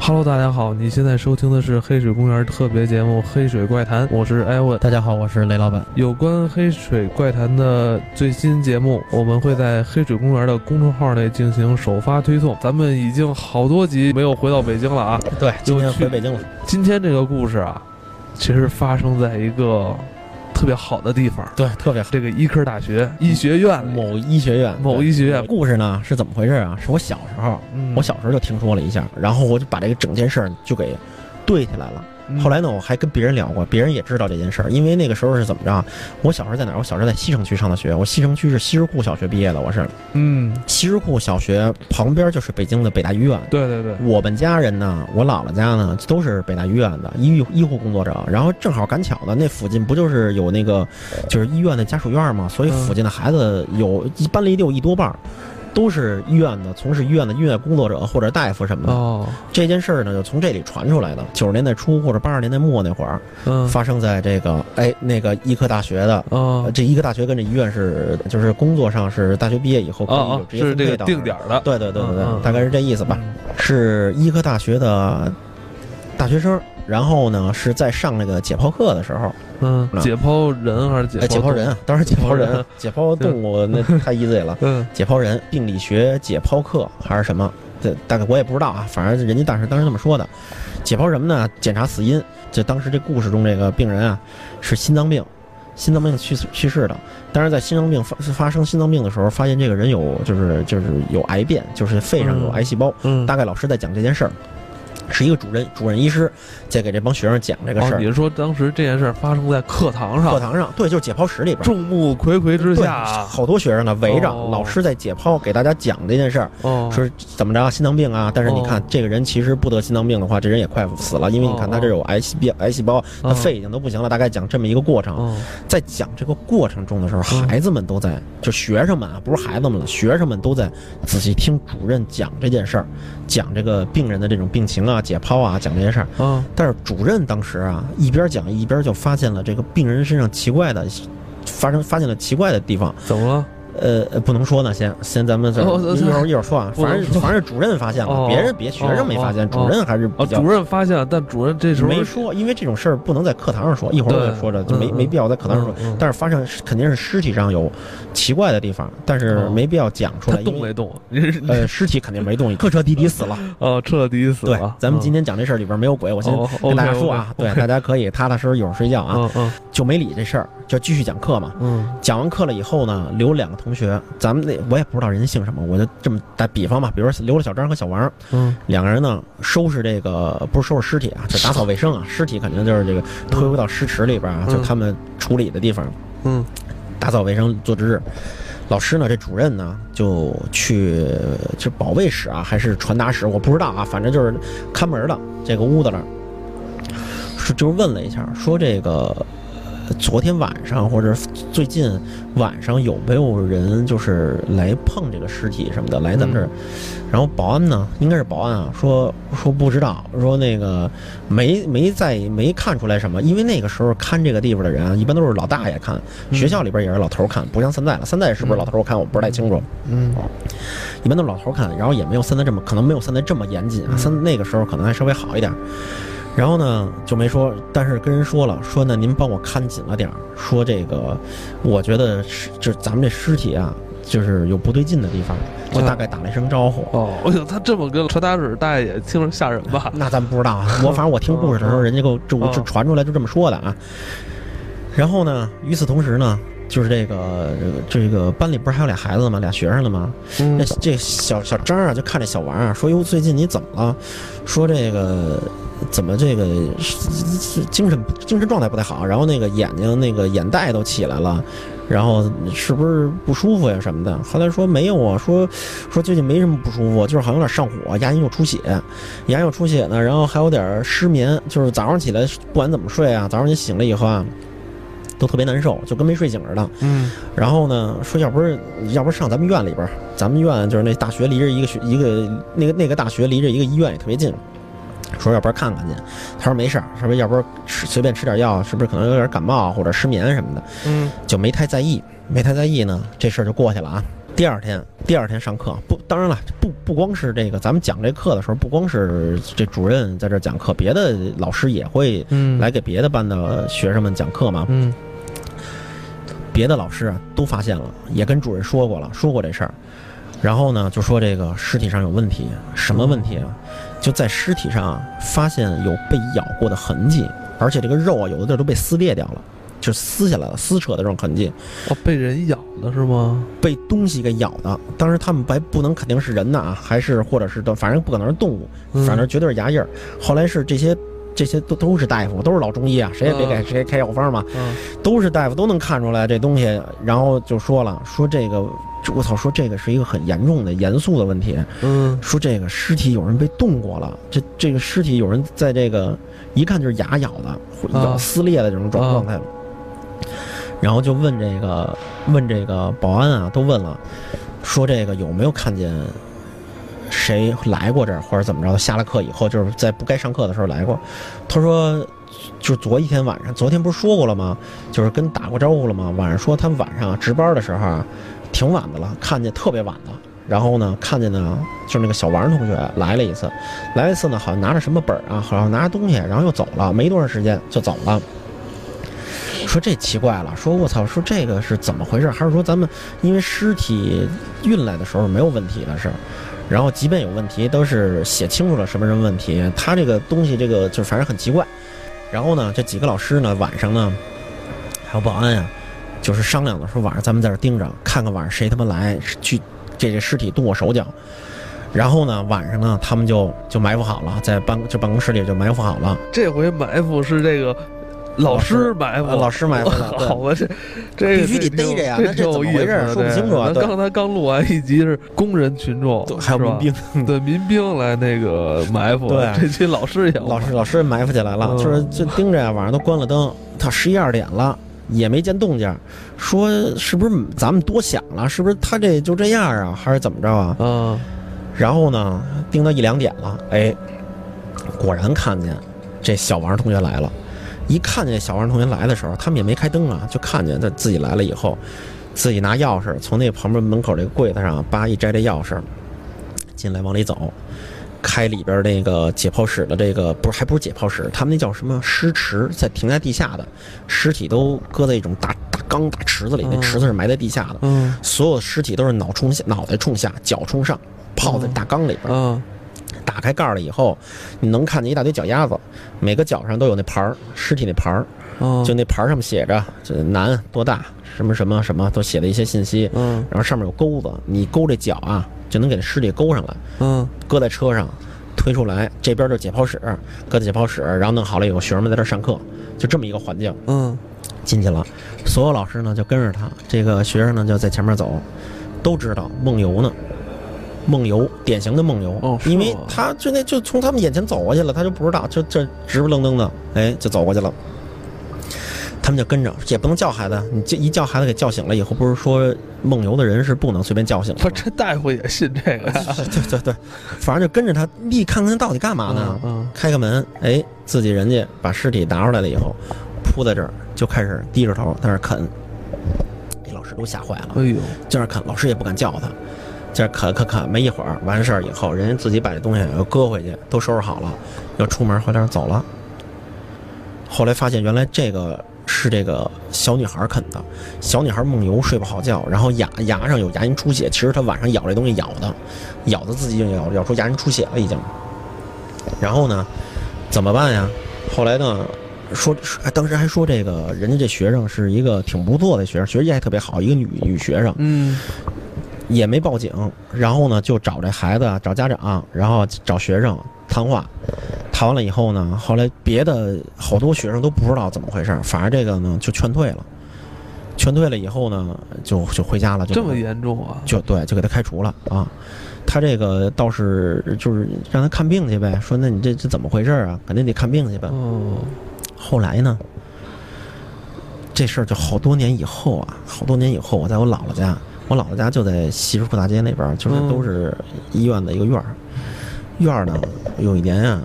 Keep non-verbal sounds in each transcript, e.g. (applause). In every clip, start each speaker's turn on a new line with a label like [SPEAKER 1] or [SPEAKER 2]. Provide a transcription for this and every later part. [SPEAKER 1] Hello，大家好，你现在收听的是黑水公园特别节目《黑水怪谈》，我是艾文。
[SPEAKER 2] 大家好，我是雷老板。
[SPEAKER 1] 有关《黑水怪谈》的最新节目，我们会在黑水公园的公众号内进行首发推送。咱们已经好多集没有回到北京了啊！
[SPEAKER 2] 对，
[SPEAKER 1] 今天回
[SPEAKER 2] 北京了。
[SPEAKER 1] 今天这个故事啊，其实发生在一个特别好的地方，
[SPEAKER 2] 对，特别好。
[SPEAKER 1] 这个医科大学医学院里。
[SPEAKER 2] 某医学院，
[SPEAKER 1] 某医学院
[SPEAKER 2] 对故事呢是怎么回事啊？是我小时候，
[SPEAKER 1] 嗯
[SPEAKER 2] 我小时候就听说了一下，然后我就把这个整件事儿就给对起来了。
[SPEAKER 1] 嗯
[SPEAKER 2] 后来呢，我还跟别人聊过，别人也知道这件事儿，因为那个时候是怎么着啊？我小时候在哪儿？我小时候在西城区上的学，我西城区是西直库小学毕业的，我是
[SPEAKER 1] 嗯，
[SPEAKER 2] 西直库小学旁边就是北京的北大医院。
[SPEAKER 1] 对对对，
[SPEAKER 2] 我们家人呢，我姥姥家呢都是北大医院的医医护工作者，然后正好赶巧的那附近不就是有那个就是医院的家属院嘛，所以
[SPEAKER 1] 嗯
[SPEAKER 2] 附近的孩子有一班里得有一多半儿都是医院的，从事医院的医院工作者或者大夫什么的。
[SPEAKER 1] 哦，
[SPEAKER 2] 这件事儿呢，就从这里传出来的，九十年代初或者八十年代末那会儿，
[SPEAKER 1] 嗯，
[SPEAKER 2] 发生在这个哎那个医科大学的。
[SPEAKER 1] 哦
[SPEAKER 2] 呃，这医科大学跟这医院是，就是工作上是大学毕业以后
[SPEAKER 1] 哦
[SPEAKER 2] 可以有
[SPEAKER 1] 哦，
[SPEAKER 2] 直接
[SPEAKER 1] 是
[SPEAKER 2] 分
[SPEAKER 1] 这
[SPEAKER 2] 配
[SPEAKER 1] 个
[SPEAKER 2] 到
[SPEAKER 1] 定点儿的，
[SPEAKER 2] 对对对对对，
[SPEAKER 1] 嗯嗯
[SPEAKER 2] 大概是这意思吧。是医科大学的大学生，然后呢是在上那个解剖课的时候，
[SPEAKER 1] 嗯，解剖人还是解
[SPEAKER 2] 哎，解
[SPEAKER 1] 剖
[SPEAKER 2] 剖人？啊，当然解剖
[SPEAKER 1] 解剖人
[SPEAKER 2] 人，解剖动物那太
[SPEAKER 1] (laughs)
[SPEAKER 2] easy 了，
[SPEAKER 1] 嗯
[SPEAKER 2] 解剖人病理学解剖课还是什么？这大概我也不知道啊，反正人家当时当时这么说的。解剖什么呢？检查死因。这当时这故事中这个病人啊是心脏病，心脏病去世去世的。但是在心脏病发发生心脏病的时候，发现这个人有就是就是有癌变，就是肺上有
[SPEAKER 1] 嗯
[SPEAKER 2] 癌细胞。
[SPEAKER 1] 嗯，
[SPEAKER 2] 大概老师在讲这件事儿，是一个主任主任医师在给这帮学生讲这个事
[SPEAKER 1] 哦，
[SPEAKER 2] 儿
[SPEAKER 1] 你。是说当时这件事儿发生在课堂
[SPEAKER 2] 课
[SPEAKER 1] 上，
[SPEAKER 2] 堂上，对，就是解剖室里边儿，
[SPEAKER 1] 众目睽睽之
[SPEAKER 2] 对，
[SPEAKER 1] 下，
[SPEAKER 2] 好多学生呢围着
[SPEAKER 1] 哦
[SPEAKER 2] 老师在解剖，给大家讲这件事儿，
[SPEAKER 1] 哦，
[SPEAKER 2] 说怎么着心脏病啊。但是你看
[SPEAKER 1] 哦
[SPEAKER 2] 这个人其实不得心脏病的话，这人也快死了，因为你看
[SPEAKER 1] 哦
[SPEAKER 2] 他这有癌细胞，癌细胞，他
[SPEAKER 1] 嗯
[SPEAKER 2] 肺已经都不行了。大概讲这么一个过程，
[SPEAKER 1] 哦，
[SPEAKER 2] 在讲这个过程中的时候，
[SPEAKER 1] 嗯
[SPEAKER 2] 孩子们都在，就学生们啊，不是孩子们了，学生们都在仔细听主任讲这件事儿，讲这个病人的这种病情啊、解剖啊，讲这些事儿。
[SPEAKER 1] 嗯，
[SPEAKER 2] 但是主任当时啊，一边讲一边就发现了这个病人身上奇怪的，发生发现了奇怪的地方。
[SPEAKER 1] 怎么了？
[SPEAKER 2] 呃，呃不能说呢，先先咱们这
[SPEAKER 1] 哦这
[SPEAKER 2] 一会儿一会儿说啊，
[SPEAKER 1] 不能
[SPEAKER 2] 反正
[SPEAKER 1] 说
[SPEAKER 2] 反正主任发现
[SPEAKER 1] 哦
[SPEAKER 2] 了，别人别学生没发
[SPEAKER 1] 哦
[SPEAKER 2] 现，
[SPEAKER 1] 哦
[SPEAKER 2] 主任还是比
[SPEAKER 1] 啊，
[SPEAKER 2] 较
[SPEAKER 1] 主。任发现了，但主任这时候
[SPEAKER 2] 没说，因为这种事儿不能在课堂上说，一会儿我
[SPEAKER 1] 对
[SPEAKER 2] 也说着，就没
[SPEAKER 1] 嗯
[SPEAKER 2] 没必要在课堂上说
[SPEAKER 1] 嗯嗯。
[SPEAKER 2] 但是发现是肯定是尸体上有奇怪的地方，但是
[SPEAKER 1] 哦
[SPEAKER 2] 没必要讲出
[SPEAKER 1] 他
[SPEAKER 2] 来，
[SPEAKER 1] 动
[SPEAKER 2] 因为
[SPEAKER 1] 没动？你是
[SPEAKER 2] 呃，尸体肯定没动，客车滴滴死了。
[SPEAKER 1] (laughs) 哦，彻底死
[SPEAKER 2] 对
[SPEAKER 1] 了。，
[SPEAKER 2] 咱们今
[SPEAKER 1] 天
[SPEAKER 2] 天讲这事儿里边没有鬼，我先
[SPEAKER 1] 哦
[SPEAKER 2] 跟大家
[SPEAKER 1] OK，OK，
[SPEAKER 2] 说啊，对，大家可以踏踏实实一会儿睡觉啊，
[SPEAKER 1] (laughs) 嗯嗯
[SPEAKER 2] 就没理这事儿，就继续讲课嘛。
[SPEAKER 1] 嗯
[SPEAKER 2] 讲完课了以后呢，留两个同学，咱们那我也不知道人家姓什么，我就这么打比方吧，比如说留了小张和小王
[SPEAKER 1] 嗯
[SPEAKER 2] 两个人呢，收拾这个不是收拾尸体啊，就打扫卫生啊，尸体肯定就是这个推回到尸池里边啊，
[SPEAKER 1] 嗯
[SPEAKER 2] 就他们处理的地方，
[SPEAKER 1] 嗯
[SPEAKER 2] 打扫卫生做值日。老师呢，这主任呢就去这保卫室啊，还是传达室，我不知道啊，反正就是看门的这个屋子那儿，是就是问了一下，说这个呃昨天晚上或者最近晚上有没有人就是来碰这个尸体什么的，来咱们这儿。然后保安呢，应该是保安啊，说说不知道，说那个没没在没看出来什么，因为那个时候看这个地方的人啊，一般都是老大爷看，
[SPEAKER 1] 嗯
[SPEAKER 2] 学校里边也是老头儿看，不像现在了，现在是不是老头儿看我不是太清楚，
[SPEAKER 1] 嗯
[SPEAKER 2] 一般都是老头儿看，然后也没有现在这么，可能没有现在这么严谨啊，
[SPEAKER 1] 嗯
[SPEAKER 2] 现那个时候可能还稍微好一点。然后呢，就没说，但是跟人说了，说呢，您帮我看紧了点儿，说这个，我觉得是，就是咱们这尸体啊，就是有不对劲的地方，就大概打了一声招呼。
[SPEAKER 1] 哦，哎呦，他这么跟传达室大爷也听着吓人吧？
[SPEAKER 2] 那咱不知道啊，我反正我听故事的时
[SPEAKER 1] 嗯
[SPEAKER 2] 候，人家给我就
[SPEAKER 1] 嗯
[SPEAKER 2] 就传出来就这么说的啊。然后呢，与此同时呢，就是这个这个这个班里不是还有俩孩子吗？俩学生呢吗？
[SPEAKER 1] 嗯
[SPEAKER 2] 那这小小张啊，就看这小王啊，说哟，最近你怎么了？说这个怎么这个是是精神精神状态不太好，然后那个眼睛那个眼袋都起来了。然后是不是不舒服呀什么的？后来说没有啊，说说最近没什么不舒服，就是好像有点上火，牙龈又出血，牙龈又出血呢，然后还有点失眠，就是早上起来不管怎么睡啊，早上你醒了以后啊，都特别难受，就跟没睡醒似的。
[SPEAKER 1] 嗯
[SPEAKER 2] 然后呢，说要不是要不是上咱们院里边儿，咱们院就是那大学离着一个学一个那个那个大学离着一个医院也特别近，说要不然看看去。他说没事儿，他说要不然吃随便吃点药，是不是可能有点感冒或者失眠什么的，
[SPEAKER 1] 嗯
[SPEAKER 2] 就没太在意，没太在意呢，这事儿就过去了啊。第二天，第二天上课不，当然了，不不光是这个，咱们讲这课的时候，不光是这主任在这儿讲课，别的老师也会
[SPEAKER 1] 嗯，
[SPEAKER 2] 来，给别的班的学生们讲课嘛。
[SPEAKER 1] 嗯
[SPEAKER 2] 别的老师啊都发现了，也跟主任说过了，说过这事儿。然后呢，就说这个尸体上有问题，什么问题啊？就在尸体上啊发现有被咬过的痕迹，而且这个肉啊有的地儿都被撕裂掉了，就撕下来了，撕扯的这种痕迹，
[SPEAKER 1] 哦，被人咬了是吗？
[SPEAKER 2] 被东西给咬的。当时他们还不能肯定是人呐，还是或者是动反正不可能是动物，
[SPEAKER 1] 嗯
[SPEAKER 2] 反正绝对是牙印儿。后来是这些。这些都都是大夫，都是老中医啊，谁也别给
[SPEAKER 1] 嗯
[SPEAKER 2] 谁开药方嘛。
[SPEAKER 1] 嗯
[SPEAKER 2] 都是大夫都能看出来这东西，然后就说了，说这个，我操，说这个是一个很严重的、严肃的问题，
[SPEAKER 1] 嗯
[SPEAKER 2] 说这个尸体有人被动过了，这这个尸体有人在这个一看就是牙咬的、或
[SPEAKER 1] 啊
[SPEAKER 2] 咬撕裂的这种状
[SPEAKER 1] 啊
[SPEAKER 2] 状态了，然后就问这个问这个保安啊，都问了，说这个有没有看见谁来过这儿，或者怎么着？下了课以后，就是在不该上课的时候来过。他说，就是昨一天晚上，昨天不是说过了吗？就是跟打过招呼了吗？晚上说他晚上啊值班的时候啊，挺晚的了，看见特别晚了。然后呢，看见呢，就是那个小王同学来了一次，来了一次呢，好像拿着什么本儿啊，好像拿着东西，然后又走了，没多长时间就走了。说这奇怪了，说我操，说这个是怎么回事？还是说咱们因为尸体运来的时候没有问题的是，然后即便有问题，都是写清楚了什么什么问题。他这个东西，这个就反正很奇怪。然后呢，这几个老师呢，晚上呢，还有保安呀、就是商量了，说晚上咱们在这儿盯着，看看晚上谁他妈来去这这尸体动我手脚。然后呢，晚上呢，他们就就埋伏好了，在办就办公室里就埋伏好了。
[SPEAKER 1] 这回埋伏是这个老师埋伏，
[SPEAKER 2] 呃老师埋伏的，对
[SPEAKER 1] 好吧，这这
[SPEAKER 2] 必须得
[SPEAKER 1] 这挺
[SPEAKER 2] 逮着呀
[SPEAKER 1] 这
[SPEAKER 2] 那
[SPEAKER 1] 挺
[SPEAKER 2] 这怎
[SPEAKER 1] 有
[SPEAKER 2] 么
[SPEAKER 1] 意
[SPEAKER 2] 回
[SPEAKER 1] 思
[SPEAKER 2] 事儿
[SPEAKER 1] 的。
[SPEAKER 2] 说不清楚啊
[SPEAKER 1] 咱
[SPEAKER 2] 对
[SPEAKER 1] 刚才刚录完一集是工人群众，
[SPEAKER 2] 对还有
[SPEAKER 1] 是吧
[SPEAKER 2] 民
[SPEAKER 1] (laughs)
[SPEAKER 2] 兵，
[SPEAKER 1] 对民兵来那个埋伏，
[SPEAKER 2] 对
[SPEAKER 1] 这期老师也要
[SPEAKER 2] 老师 (laughs) 老师埋伏起来了，
[SPEAKER 1] 嗯
[SPEAKER 2] 就是就盯着呀，晚上都关了灯，他十一二点了也没见动静，说是不是咱们多想了？是不是他这就这样啊，还是怎么着啊？
[SPEAKER 1] 啊，
[SPEAKER 2] 然后呢，盯到一两点了，哎，果然看见这小王同学来了。一看见这小王同学来的时候，他们也没开灯啊，就看见他自己来了以后，自己拿钥匙从那旁边门口这个柜子上叭一摘这钥匙，进来往里走，开里边那个解剖室的这个不是还不是解剖室，他们那叫什么尸池，在停在地下的，尸体都搁在一种大大缸大池子里，那
[SPEAKER 1] 嗯
[SPEAKER 2] 池子是埋在地下的，
[SPEAKER 1] 嗯
[SPEAKER 2] 所有的尸体都是脑冲下，脑袋冲下，脚冲上，泡在大缸里边。
[SPEAKER 1] 啊，
[SPEAKER 2] 打开盖儿了以后，你能看见一大堆脚丫子，每个脚上都有那牌儿，尸体那牌儿，
[SPEAKER 1] 啊
[SPEAKER 2] 就那牌儿上面写着这男多大，什么什么什么，都写的一些信息。
[SPEAKER 1] 嗯
[SPEAKER 2] 然后上面有钩子，你勾这脚啊，就能给这尸体勾上来，
[SPEAKER 1] 嗯
[SPEAKER 2] 搁在车上。推出来，这边就是解剖室，搁在解剖室，然后弄好了以后，学生们在这儿上课，就这么一个环境。
[SPEAKER 1] 嗯
[SPEAKER 2] 进去了，所有老师呢就跟着他，这个学生呢就在前面走，都知道梦游呢，梦游，典型的梦游，
[SPEAKER 1] 哦是吗
[SPEAKER 2] 因为他就那就从他们眼前走过去了，他就不知道，就这直不愣登的，哎，就走过去了。他们就跟着，也不能叫孩子，你这一叫孩子给叫醒了以后，不是说梦游的人是不能随便叫醒的
[SPEAKER 1] 不
[SPEAKER 2] 吗
[SPEAKER 1] 是，？这大夫也信这个
[SPEAKER 2] (laughs)
[SPEAKER 1] 呀？
[SPEAKER 2] 对对对，反正就跟着他，一看看他到底干嘛呢？
[SPEAKER 1] 嗯
[SPEAKER 2] 开个门，哎，自己人家把尸体拿出来了以后，铺在这儿就开始低着头在那儿啃，这老师都吓坏了
[SPEAKER 1] 嗯，，哎呦，
[SPEAKER 2] 在那儿啃，老师也不敢叫他，在那儿啃啃啃，没一会儿完事儿以后，人家自己把这东西又搁回去，都收拾好了，要出门回来走了。后来发现原来这个是这个小女孩啃的，小女孩梦游睡不好觉，然后牙牙上有牙龈出血，其实她晚上咬这东西咬的，咬的自己就咬咬出牙龈出血了已经。然后呢，怎么办呀？后来呢，说说哎当时还说这个人家这学生是一个挺不错的学生，学习还特别好，一个女女学生。
[SPEAKER 1] 嗯
[SPEAKER 2] 也没报警，然后呢就找这孩子啊，找家长，然后找学生谈话，谈完了以后呢，后来别的好多学生都不知道怎么回事儿，反而这个呢就劝退了，劝退了以后呢就就回家了，就
[SPEAKER 1] 这么严重啊？
[SPEAKER 2] 就对，就给他开除了啊。他这个倒是就是让他看病去呗，说那你这这怎么回事儿啊？肯定得看病去呗。
[SPEAKER 1] 嗯
[SPEAKER 2] 后来呢，这事儿就好多年以后啊，好多年以后，我在我姥姥家，我姥姥家就在西直库大街那边儿，就是
[SPEAKER 1] 嗯
[SPEAKER 2] 都是医院的一个院儿。院儿呢，有一年啊，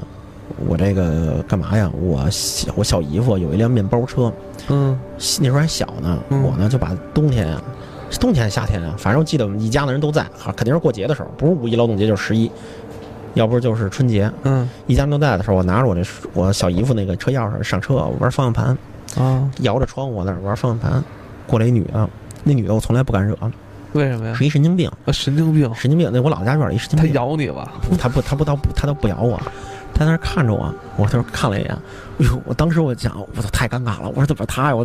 [SPEAKER 2] 我这个干嘛呀？我小我小姨夫有一辆面包车，
[SPEAKER 1] 嗯
[SPEAKER 2] 那时候还小呢，
[SPEAKER 1] 嗯
[SPEAKER 2] 我呢就把冬天啊是冬天还是夏天啊？反正我记得我们一家子人都在，啊肯定是过节的时候，不是五一劳动节就是十一，要不就是春节，
[SPEAKER 1] 嗯
[SPEAKER 2] 一家人都在的时候，我拿着我这我小姨夫那个车钥匙上车，我玩方向盘，
[SPEAKER 1] 啊，
[SPEAKER 2] 摇着窗户我在那玩方向盘，过来一女的，那女的我从来不敢惹，
[SPEAKER 1] 为什么呀？
[SPEAKER 2] 是一神经病，
[SPEAKER 1] 啊神经病，
[SPEAKER 2] 神经病。那我老家院儿一神经
[SPEAKER 1] 他
[SPEAKER 2] 病，
[SPEAKER 1] 咬你了，
[SPEAKER 2] 不他不，他不，他不，他都不咬我，他在那儿看着我，我就是看了一眼，哎呦，我当时我想，我操，太尴尬了，我说怎么他呀？我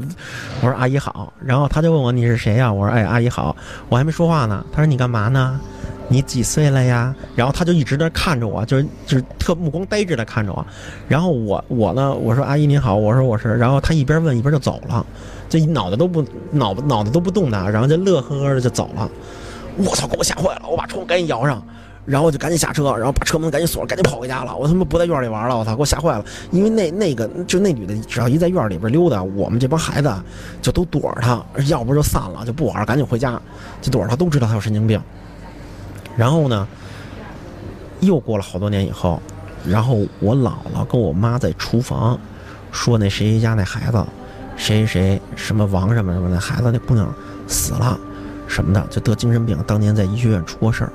[SPEAKER 2] 我说阿姨好，然后他就问我你是谁呀？我说哎，阿姨好，我还没说话呢。他说你干嘛呢？你几岁了呀？然后他就一直在那看着我，就是就是特目光呆滞的看着我。然后我我呢，我说阿姨您好，我说我是，然后他一边问一边就走了，这脑袋都不脑脑袋都不动弹，然后就乐呵呵的就走了。我操，给我吓坏了，我把窗户赶紧摇上。然后我就赶紧下车，然后把车门赶紧锁了，赶紧跑回家了。我他妈不在院里玩了，我操，给我吓坏了。因为那那个就那女的，只要一在院里边溜达，我们这帮孩子就都躲着她，要不就散了，就不玩，赶紧回家，就躲着她，都知道她有神经病。然后呢，又过了好多年以后，然后我姥姥跟我妈在厨房说那谁谁家那孩子，谁谁谁什么王什么什么那孩子那姑娘死了什么的，就得精神病，当年在医学院出过事儿。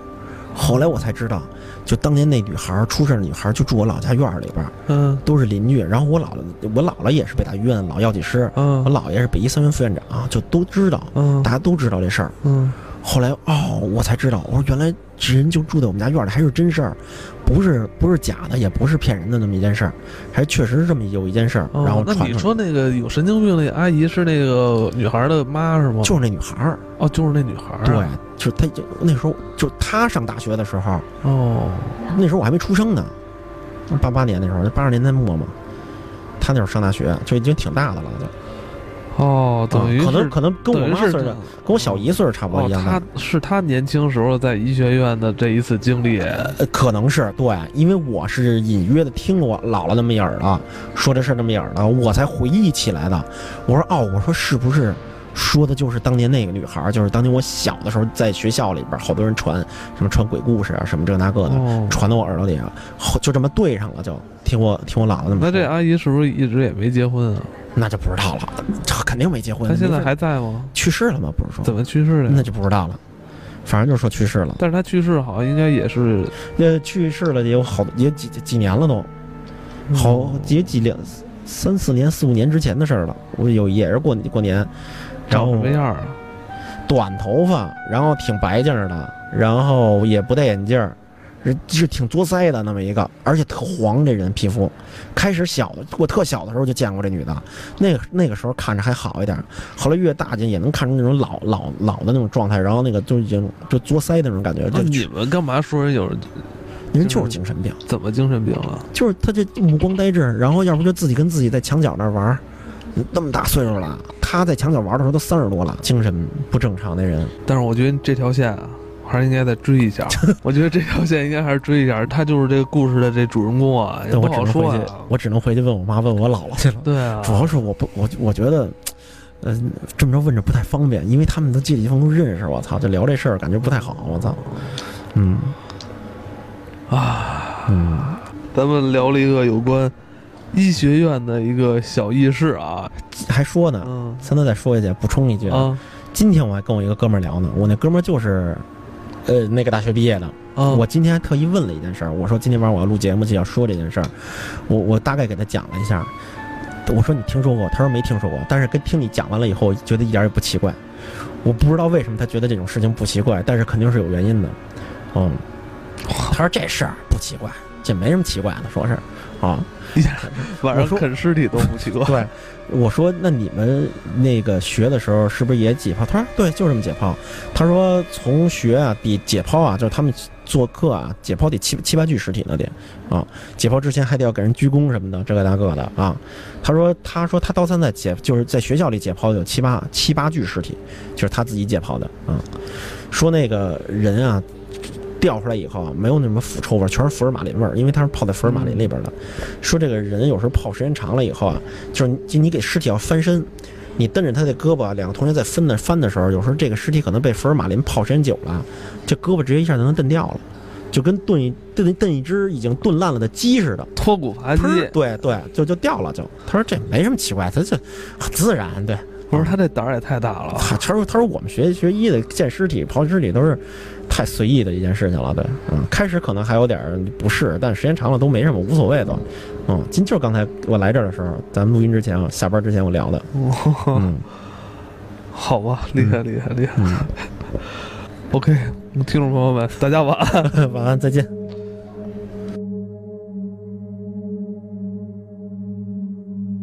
[SPEAKER 2] 后来我才知道，就当年那女孩儿出事儿，女孩儿就住我老家院儿里边儿，
[SPEAKER 1] 嗯
[SPEAKER 2] 都是邻居。然后我姥姥，我姥姥也是北大医院的老药剂师，我
[SPEAKER 1] 嗯
[SPEAKER 2] 姥爷是北医三院副院长，啊就都知道，
[SPEAKER 1] 嗯
[SPEAKER 2] 大家都知道这事儿。
[SPEAKER 1] 嗯
[SPEAKER 2] 后来哦，我才知道，我说原来这人就住在我们家院儿里，还是真事儿，不是不是假的，也不是骗人的那么一件事儿，还确实是这么有一件事儿，
[SPEAKER 1] 哦
[SPEAKER 2] 然后
[SPEAKER 1] 那
[SPEAKER 2] 传
[SPEAKER 1] 你
[SPEAKER 2] 出来。
[SPEAKER 1] 说那个有神经病那阿姨是那个女孩的妈是吗？
[SPEAKER 2] 就是那女孩儿，
[SPEAKER 1] 哦，就是那女孩儿
[SPEAKER 2] 对，就是她，就那时候就她上大学的时候，
[SPEAKER 1] 哦，
[SPEAKER 2] 那时候我还没出生呢，八八年那时候，八十年代末嘛。他那时候上大学就已经挺大的了，就啊
[SPEAKER 1] 哦，等于
[SPEAKER 2] 啊可
[SPEAKER 1] 是
[SPEAKER 2] 能可能跟我
[SPEAKER 1] 等于
[SPEAKER 2] 妈
[SPEAKER 1] 是
[SPEAKER 2] 岁数，跟我小姨岁数差不多
[SPEAKER 1] 哦
[SPEAKER 2] 一，样大
[SPEAKER 1] 她。是她年轻时候在医学院的这一次经历，
[SPEAKER 2] 呃，可能是对，因为我是隐约的听过姥姥那么一耳朵说这事儿那么一耳朵，我才回忆起来的。我说哦，我说是不是说的就是当年那个女孩儿？就是当年我小的时候在学校里边儿，好多人传什么传鬼故事啊，什么这那个的，
[SPEAKER 1] 哦，
[SPEAKER 2] 传到我耳朵里啊，后就这么对上了就，听我听我姥姥那么说。
[SPEAKER 1] 那啊这阿姨是不是一直也没结婚啊？
[SPEAKER 2] 那就不知道了，这肯定没结婚。
[SPEAKER 1] 她现在
[SPEAKER 2] 没事
[SPEAKER 1] 还在吗？
[SPEAKER 2] 去世了吗？不是说
[SPEAKER 1] 怎么去世的呀？
[SPEAKER 2] 那就不知道了，反正就说去世了。
[SPEAKER 1] 但是她去世好像应该也是
[SPEAKER 2] 那去世了也有好也几几几年了都，好
[SPEAKER 1] 嗯
[SPEAKER 2] 也几两三四年四五年之前的事儿了。我有也是过过年，
[SPEAKER 1] 嗯
[SPEAKER 2] 然
[SPEAKER 1] 长什
[SPEAKER 2] 后
[SPEAKER 1] 么样儿啊？
[SPEAKER 2] 短头发，然后挺白净儿的，然后也不戴眼镜儿。是是挺作腮的那么一个，而且特黄，这人皮肤。开始小的，我特小的时候就见过这女的，那个 (laughs) 那个时候看着还好一点儿，后来越大就也能看出那种老老老的那种状态，然后那个就已经就作腮的那种感觉，
[SPEAKER 1] 那
[SPEAKER 2] 就
[SPEAKER 1] 啊你嗯们干嘛说人有人
[SPEAKER 2] 人就是精神病。
[SPEAKER 1] 怎么精神病啊了？
[SPEAKER 2] 就是他这目光呆滞，然后要不就自己跟自己在墙角那儿玩儿，那么大岁数了，他在墙角玩的时候都三十多了，精神不正常的人，
[SPEAKER 1] 但是我觉得这条线啊，还是应该再追一 (laughs) 下。我觉得这条线应该还是追一下，他就是这个故事的这主人公啊，也
[SPEAKER 2] 但
[SPEAKER 1] 不
[SPEAKER 2] 我只
[SPEAKER 1] 好
[SPEAKER 2] 能
[SPEAKER 1] 说
[SPEAKER 2] 回去
[SPEAKER 1] 啊，。
[SPEAKER 2] 我只能回去问我妈问我姥姥去了。
[SPEAKER 1] 对啊，
[SPEAKER 2] 主要是我不，我我觉得，呃，这么着问着不太方便，因为他们都这地方都认识，我操，就聊这事儿感觉不太好，我操，嗯
[SPEAKER 1] 啊，
[SPEAKER 2] 嗯，
[SPEAKER 1] 咱们聊了一个有关医学院的一个小轶事啊，
[SPEAKER 2] 还说呢。
[SPEAKER 1] 嗯
[SPEAKER 2] 三哥再说一句，补充一句，
[SPEAKER 1] 啊
[SPEAKER 2] 今天我还跟我一个哥们儿聊呢，我那哥们儿就是，呃，那个大学毕业的，
[SPEAKER 1] 啊，
[SPEAKER 2] 我今天还特意问了一件事儿，我说今天晚上我要录节目就要说这件事儿，我我大概给他讲了一下，我说你听说过，他说没听说过，但是跟听你讲完了以后，觉得一点儿也不奇怪，我不知道为什么他觉得这种事情不奇怪，但是肯定是有原因的，嗯，他说这事儿不奇怪，这没什么奇怪的，说是啊，
[SPEAKER 1] 晚
[SPEAKER 2] 我
[SPEAKER 1] 上
[SPEAKER 2] 说
[SPEAKER 1] 啃尸体都不奇 (laughs) 怪。
[SPEAKER 2] 对，我说那你们那个学的时候是不是也解剖？他说对，就这么解剖。他说从学啊，比解剖啊，就是他们做课啊，解剖得七七八具尸体呢得啊，解剖之前还得要给人鞠躬什么的，这个那个的啊。他说他说他到现在解就是在学校里解剖有七八七八具尸体，就是他自己解剖的啊。说那个人啊。掉出来以后啊，没有那什么腐臭味儿，全是福尔马林味儿，因为他是泡在福尔马林里边儿的。说这个人有时候泡时间长了以后啊，就是你就你给尸体要翻身，你蹬着他的胳膊，两个同学在分的翻的时候，有时候这个尸体可能被福尔马林泡时间久了，啊这胳膊直接一下就能蹬掉了，就跟炖一炖一炖一只已经炖烂了的鸡似的，
[SPEAKER 1] 脱骨扒鸡
[SPEAKER 2] 啊砰，对对，就就掉了就。他说这没什么奇怪，他这很自然，对
[SPEAKER 1] 我说他这胆儿也太大了，
[SPEAKER 2] 他啊他说他说我们学学医的见尸体、刨尸体都是太随意的一件事情了，对，嗯，开始可能还有点儿不适，但时间长了都没什么，无所谓都，嗯，今就是刚才我来这儿的时候，咱们录音之前啊，下班之前我聊的，嗯
[SPEAKER 1] (laughs) 好吧，厉害厉害厉害。
[SPEAKER 2] 嗯， (laughs)
[SPEAKER 1] OK，听众朋友们，大家晚安。
[SPEAKER 2] 晚安，再见。